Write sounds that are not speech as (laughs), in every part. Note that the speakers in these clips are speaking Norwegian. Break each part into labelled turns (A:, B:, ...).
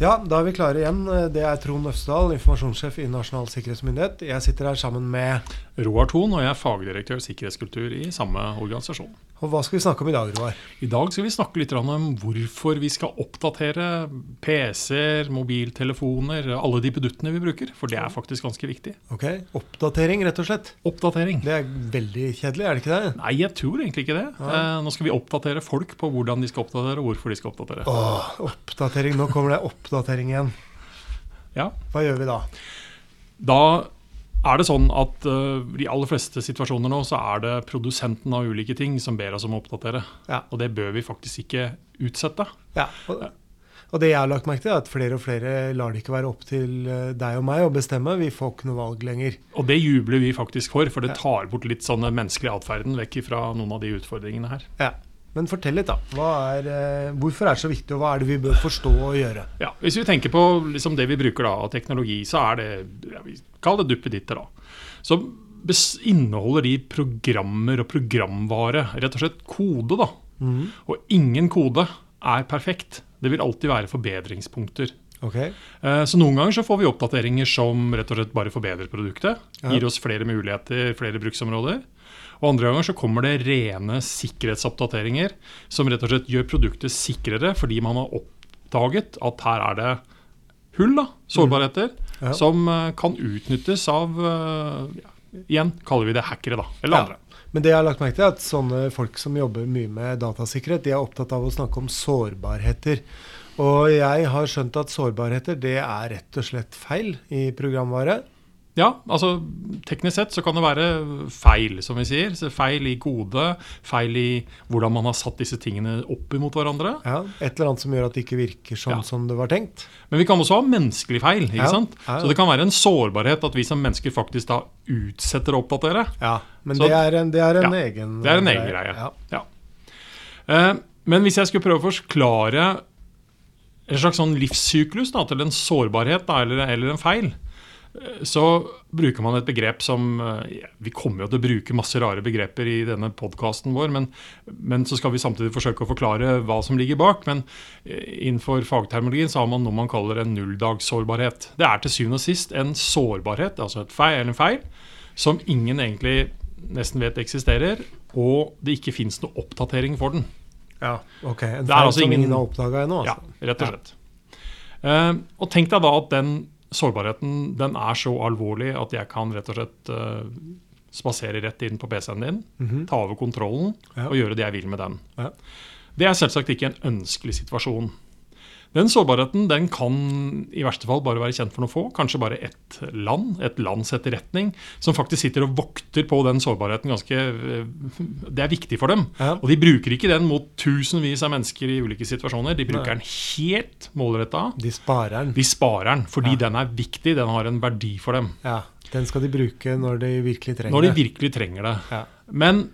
A: Ja, da er vi klare igjen. Det er Trond Øfsdal, informasjonssjef i Nasjonal sikkerhetsmyndighet. Jeg sitter her sammen med
B: Roar Thon, og jeg er fagdirektør sikkerhetskultur i samme organisasjon.
A: Og hva skal vi snakke om i dag, Roar?
B: I dag skal vi snakke litt om hvorfor vi skal oppdatere PC-er, mobiltelefoner, alle de beduttene vi bruker. For det er faktisk ganske viktig.
A: Ok, Oppdatering, rett og slett.
B: Oppdatering.
A: Det er veldig kjedelig, er det ikke det?
B: Nei, jeg tror egentlig ikke det. Eh, Nå skal vi oppdatere folk på hvordan de skal oppdatere, og hvorfor de skal oppdatere.
A: Åh, oppdatering. Nå kommer det oppdatering igjen.
B: Ja.
A: Hva gjør vi da?
B: Da er det sånn at eh, i de aller fleste situasjoner nå så er det produsenten av ulike ting som ber oss om å oppdatere.
A: Ja.
B: Og det bør vi faktisk ikke utsette.
A: Ja, og, og det jeg har lagt merke til, er at flere og flere lar det ikke være opp til eh, deg og meg å bestemme. Vi får ikke noe valg lenger.
B: Og det jubler vi faktisk for, for det tar bort litt sånn den menneskelige atferden vekk fra noen av de utfordringene her.
A: Ja. Men fortell litt, da. Hva er, eh, hvorfor er det så viktig, og hva er det vi bør forstå og gjøre?
B: Ja, hvis vi tenker på liksom det vi bruker da, av teknologi, så er det ja, vi kaller det duppeditter. da. Så bes- inneholder de programmer og programvare, rett og slett kode. da. Og ingen kode er perfekt. Det vil alltid være forbedringspunkter.
A: Ok,
B: Eh, Så noen ganger så får vi oppdateringer som rett og slett bare forbedrer produktet.
A: Ja.
B: Gir oss flere muligheter, flere bruksområder. Og andre ganger så kommer det rene sikkerhetsoppdateringer som rett og slett gjør produktet sikrere fordi man har oppdaget at her er det hull, da, sårbarheter,
A: Mm. Ja.
B: som eh, kan utnyttes av eh, ja, Igjen kaller vi det hackere, da. Eller
A: Ja.
B: andre.
A: Men det jeg har lagt merke til er at sånne folk som jobber mye med datasikkerhet, de er opptatt av å snakke om sårbarheter. Og jeg har skjønt at sårbarheter det er rett og slett feil i programvare.
B: Ja, altså teknisk sett så kan det være feil, som vi sier. Så feil i kode, feil i hvordan man har satt disse tingene opp imot hverandre.
A: Ja, et eller annet som gjør at det ikke virker sånn
B: Ja.
A: som det var tenkt.
B: Men vi kan også ha menneskelig feil. ikke
A: Ja,
B: sant?
A: ja, ja.
B: Så det kan være en sårbarhet at vi som mennesker faktisk da utsetter å oppdatere.
A: Ja, Men
B: Så-
A: det er en, det er en
B: Ja,
A: egen
B: Det er en egen greie.
A: Ja.
B: Ja. Eh, men hvis jeg skulle prøve å forklare en slags sånn livssyklus da, til en sårbarhet da, eller, eller en feil, eh, så bruker man et begrep som eh, ja, Vi kommer jo til å bruke masse rare begreper i denne podkasten vår, men, men så skal vi samtidig forsøke å forklare hva som ligger bak. Men eh, innenfor fagtermologien så har man noe man kaller en nulldagssårbarhet. Det er til syvende og sist en sårbarhet, altså et feil, eller en feil, som ingen egentlig nesten vet eksisterer, og det ikke fins noe oppdatering for den.
A: Ja, ok. En
B: Det er
A: feil
B: altså
A: som
B: ingen-
A: ingen har oppdaga ennå.
B: Ja,
A: Altså.
B: rett og slett. Eh, og tenk deg da at den sårbarheten den er så alvorlig at jeg kan rett og slett eh, spasere rett inn på PC-en din,
A: Mhm.
B: ta over kontrollen
A: Ja.
B: og gjøre det jeg vil med den.
A: Ja.
B: Det er selvsagt ikke en ønskelig situasjon. Den sårbarheten den kan i verste fall bare være kjent for noen få, kanskje bare ett land, et lands etterretning, som faktisk sitter og vokter på den sårbarheten ganske eh, Det er viktig for dem.
A: Ja.
B: Og de bruker ikke den mot tusenvis av mennesker i ulike situasjoner. De bruker den helt målretta.
A: De sparer den.
B: De sparer den fordi
A: Ja.
B: den er viktig, den har en verdi for dem.
A: Ja, Den skal de bruke når de virkelig trenger
B: Når de
A: det.
B: virkelig trenger det.
A: Ja.
B: Men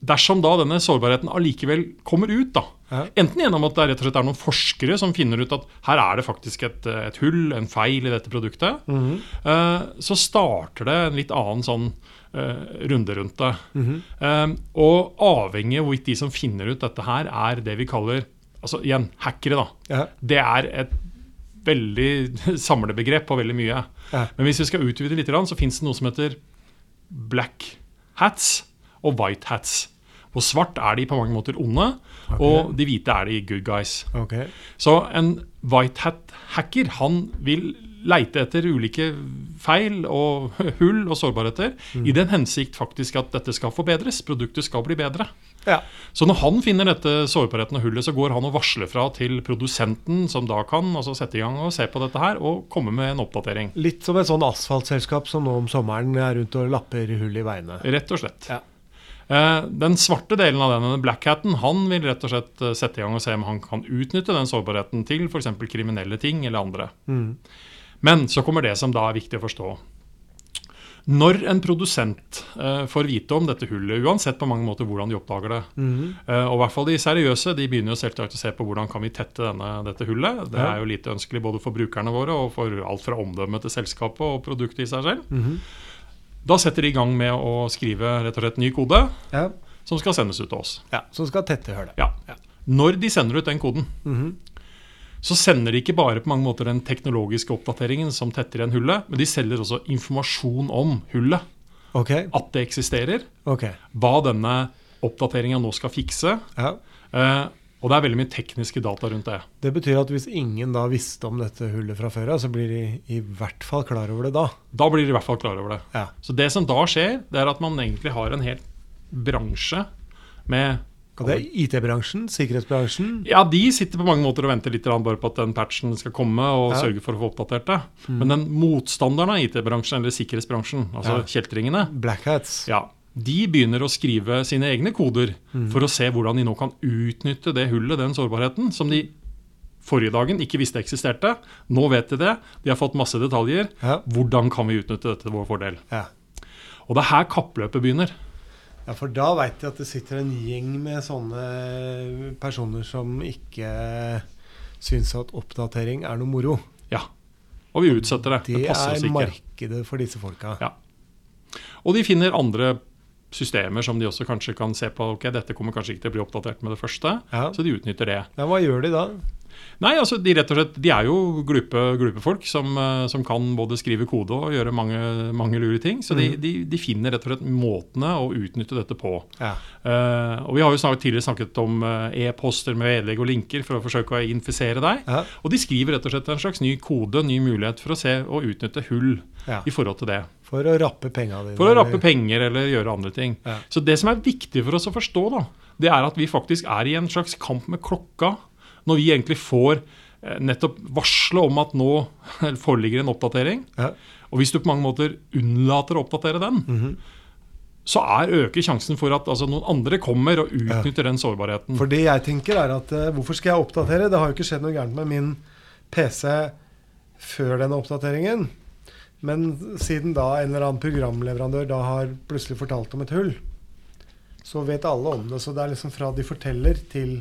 B: dersom da denne sårbarheten allikevel kommer ut, da,
A: Ja.
B: enten gjennom at det rett og slett er noen forskere som finner ut at her er det faktisk et, eh, et hull, en feil i dette produktet, eh, så starter det en litt annen sånn eh, runde rundt det. Eh, og avhengig av hvorvidt de som finner ut dette her, er det vi kaller altså igjen, hackere. da.
A: Ja,
B: Det er et veldig (laughs) samlebegrep på veldig mye.
A: Ja.
B: Men hvis vi skal utvide litt, så fins det noe som heter black hats og white hats. Og svart er de på mange måter onde, og de hvite er de good guys.
A: ok.
B: Så en white hat-hacker han vil leite etter ulike feil og (laughs) hull og sårbarheter i den hensikt faktisk at dette skal forbedres, produktet skal bli bedre.
A: Ja.
B: Så når han finner dette sårbarheten og hullet, så går han og varsler fra til produsenten, som da kan altså sette i gang og se på dette her, og komme med en oppdatering.
A: Litt som et sånn asfaltselskap som nå om sommeren er rundt og lapper hull i veiene.
B: Rett og slett.
A: Ja.
B: Eh, Den svarte delen av denne blackhatten han vil rett og slett eh, sette i gang og se om han kan utnytte den sårbarheten til f.eks. kriminelle ting eller andre.
A: Mhm.
B: Men så kommer det som da er viktig å forstå. Når en produsent eh, får vite om dette hullet, uansett på mange måter hvordan de oppdager det,
A: Mhm.
B: Eh, Og i hvert fall de seriøse de begynner jo selvsagt å se på hvordan kan vi tette denne, dette hullet. Det
A: Ja.
B: er jo lite ønskelig både for brukerne våre og for alt fra omdømmet til selskapet og produktet i seg selv.
A: Mhm.
B: Da setter de i gang med å skrive rett og slett ny kode
A: ja.
B: som skal sendes ut til oss.
A: ja. Som skal tette hullet.
B: Ja. Når de sender ut den koden,
A: Mhm.
B: så sender de ikke bare på mange måter den teknologiske oppdateringen som tetter igjen hullet, men de selger også informasjon om hullet.
A: Ok.
B: At det eksisterer,
A: ok.
B: hva denne oppdateringa nå skal fikse.
A: Ja.
B: eh, og det er veldig mye tekniske data rundt det.
A: Det betyr at hvis ingen da visste om dette hullet fra før av, så blir de i hvert fall klar over det da.
B: Da blir de i hvert fall klar over det.
A: Ja.
B: Så det som da skjer, det er at man egentlig har en hel bransje med
A: Og det er IT-bransjen, sikkerhetsbransjen.
B: Ja, de sitter på mange måter og venter litt grann bare på at den patchen skal komme, og
A: Ja. Mm.
B: sørge for å få oppdatert det. Men den motstanderen av IT-bransjen, eller sikkerhetsbransjen, altså
A: Ja.
B: kjeltringene,
A: Black hats.
B: ja, de begynner å skrive sine egne koder
A: Mm.
B: for å se hvordan de nå kan utnytte det hullet, den sårbarheten, som de forrige dagen ikke visste eksisterte. Nå vet de det, de har fått masse detaljer.
A: Ja.
B: Hvordan kan vi utnytte dette til vår fordel?
A: Ja.
B: Og det er her kappløpet begynner.
A: Ja, for da veit jeg at det sitter en gjeng med sånne personer som ikke syns at oppdatering er noe moro.
B: Ja. Og vi utsetter det. Det
A: Det
B: passer oss
A: er
B: ikke.
A: markedet for disse folka.
B: Ja. Og de finner andre systemer som de også kanskje kan se på. Ok, dette kommer kanskje ikke til å bli oppdatert med det første,
A: Ja.
B: så de utnytter det.
A: Ja, hva gjør de da?
B: Nei, altså de rett og slett, de er jo glupe, glupe folk som, eh, som kan både skrive kode og gjøre mange, mange lure ting. Så de, de, de finner rett og slett måtene å utnytte dette på.
A: Ja.
B: Eh, og vi har jo snakket, tidligere snakket om eh, e-poster med vedlegg og linker for å forsøke å infisere deg.
A: Ja.
B: Og de skriver rett og slett en slags ny kode, ny mulighet for å se og utnytte hull
A: Ja.
B: i forhold til det.
A: For å rappe penga dine.
B: For å rappe
A: eller-
B: penger eller gjøre andre ting.
A: Ja.
B: Så det som er viktig for oss å forstå, da, det er at vi faktisk er i en slags kamp med klokka. Når vi egentlig får eh, nettopp varsle om at nå (laughs) foreligger en oppdatering.
A: Ja.
B: Og hvis du på mange måter unnlater å oppdatere den,
A: Mhm. Mm-hmm.
B: så er øker sjansen for at altså, noen andre kommer og utnytter den sårbarheten.
A: For det jeg tenker er at eh, hvorfor skal jeg oppdatere? Det har jo ikke skjedd noe gærent med min PC før denne oppdateringen. Men siden da en eller annen programleverandør da har plutselig fortalt om et hull, så vet alle om det. Så det er liksom fra de forteller til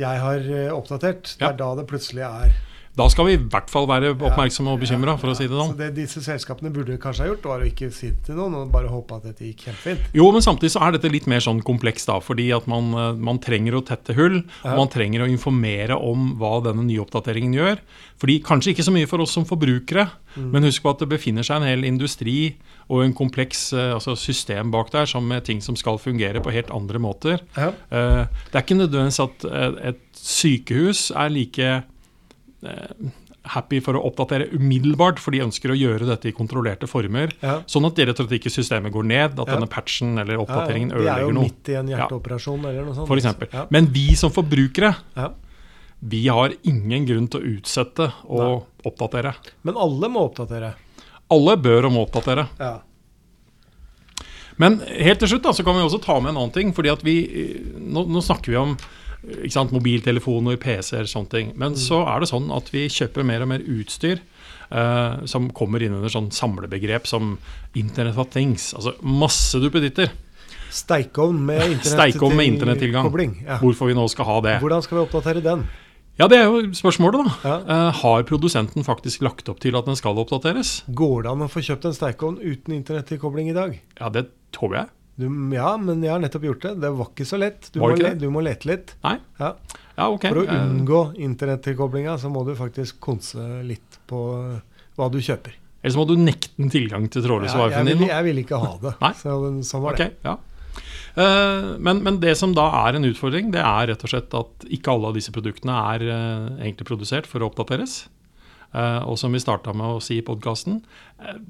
A: jeg har eh, oppdatert. Det
B: Ja.
A: er da det plutselig er.
B: da skal vi i hvert fall være oppmerksomme og bekymra, for å si det
A: Så
B: sånn.
A: det disse selskapene burde kanskje ha gjort, var å ikke si det til noen og bare håpe at dette gikk kjempefint.
B: Jo, men samtidig så er dette litt mer sånn komplekst, da, fordi at man, eh, man trenger å tette hull.
A: Ja.
B: Og man trenger å informere om hva denne nyoppdateringen gjør. Fordi Kanskje ikke så mye for oss som forbrukere, men husk på at det befinner seg en hel industri og en kompleks eh, altså system bak der som med ting som skal fungere på helt andre måter.
A: Ja.
B: Eh, Det er ikke nødvendigvis at eh, et sykehus er like eh, happy for å oppdatere umiddelbart, for de ønsker å gjøre dette i kontrollerte former.
A: Ja.
B: Sånn at det rett og slett ikke systemet går ned, at
A: Ja.
B: denne patchen eller
A: Ja, ja.
B: oppdateringen
A: de er jo
B: ødelegger noe.
A: midt i en hjerteoperasjon eller noe sånt.
B: For eksempel.
A: Ja.
B: Men vi som forbrukere,
A: Ja.
B: vi har ingen grunn til å utsette å oppdatere.
A: Men alle må oppdatere.
B: Alle bør og må oppdatere.
A: Ja.
B: Men helt til slutt da, så kan vi også ta med en annen ting. fordi at vi, eh, Nå, nå snakker vi om eh, ikke sant, mobiltelefoner, PC-er, sånne ting.
A: Mm.
B: Men så er det sånn at vi kjøper mer og mer utstyr eh, som kommer inn under sånn samlebegrep som Internet of Things. Altså masse duppeditter.
A: Steikovn
B: (laughs)
A: med
B: Steikovn med internettilgang.
A: Kobling, ja.
B: Hvorfor vi nå skal ha det.
A: Hvordan skal vi oppdatere den?
B: Ja, Det er jo spørsmålet, da.
A: Ja.
B: Eh, har produsenten faktisk lagt opp til at den skal oppdateres?
A: Går det an å få kjøpt en steikovn uten internettilkobling i dag?
B: Ja, det tror jeg.
A: Du, ja, men jeg har nettopp gjort det. Det var ikke så lett. Du,
B: Var
A: må,
B: det ikke
A: le, du må lete litt.
B: Nei?
A: Ja.
B: Ja, ok.
A: For å
B: Eh,
A: unngå internettilkoblinga, så må du faktisk konse litt på eh, hva du kjøper.
B: Ellers må du nekte den tilgang til trådløse
A: Ja, jeg,
B: wifi-en din.
A: vil,
B: da.
A: jeg vil ikke ha det.
B: Nei.
A: Så, sånn var det.
B: Ok, ja. Eh, men, men det som da er en utfordring, det er rett og slett at ikke alle av disse produktene er eh, egentlig produsert for å oppdateres. Eh, og som vi starta med å si i podkasten,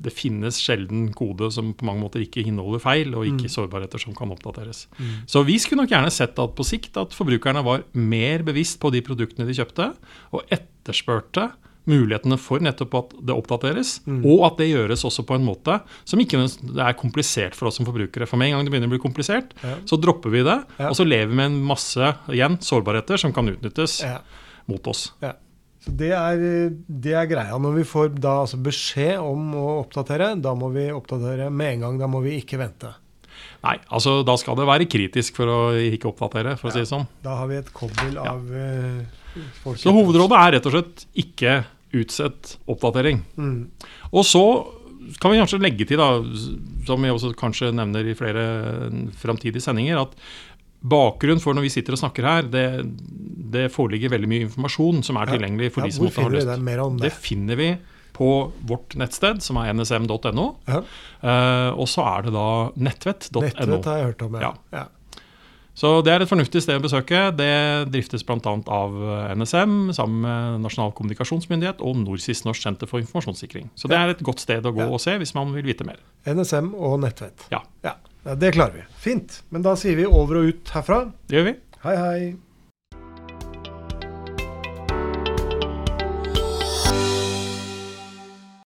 B: det finnes sjelden kode som på mange måter ikke inneholder feil, og ikke sårbarheter som kan oppdateres.
A: Mm.
B: Så vi skulle nok gjerne sett at på sikt at forbrukerne var mer bevisst på de produktene de kjøpte, og etterspurte mulighetene for nettopp at det oppdateres,
A: Mm.
B: og at det gjøres også på en måte som ikke nødvendigvis- det er komplisert for oss som forbrukere. For med en gang det begynner å bli komplisert,
A: Ja.
B: så dropper vi det,
A: Ja.
B: og så lever vi med en masse igjen sårbarheter som kan utnyttes
A: Ja.
B: mot oss.
A: Så det er, det er greia. Når vi får da altså beskjed om å oppdatere, da må vi oppdatere med en gang. Da må vi ikke vente.
B: Nei, altså da skal det være kritisk for å ikke oppdatere, for å si det sånn.
A: Da har vi et kobbel
B: Ja.
A: av eh, folk.
B: Så hovedrådet er rett og slett ikke utsett oppdatering.
A: Mm.
B: Og så kan vi kanskje legge til, da, som vi også kanskje nevner i flere framtidige sendinger, at Bakgrunnen for når vi sitter og snakker her, det, det foreligger veldig mye informasjon som er
A: Ja.
B: tilgjengelig for
A: Ja,
B: de som
A: hvor
B: måtte ha
A: finner vi det?
B: lyst.
A: Mer om
B: Det
A: det.
B: finner vi på vårt nettsted, som er nsm.no.
A: Ja.
B: eh, og så er det da nettvett.no.
A: Nettvett har jeg hørt om, ja.
B: Ja.
A: ja.
B: Så det er et fornuftig sted å besøke. Det driftes bl.a. av NSM sammen med Nasjonal kommunikasjonsmyndighet og NorSIS, Norsk senter for informasjonssikring. Så det er et godt sted å gå
A: Ja.
B: og se hvis man vil vite mer.
A: NSM og Nettvett.
B: Ja.
A: ja. Ja, Det klarer vi. Fint. Men da sier vi over og ut herfra.
B: Det gjør vi.
A: Hei, hei.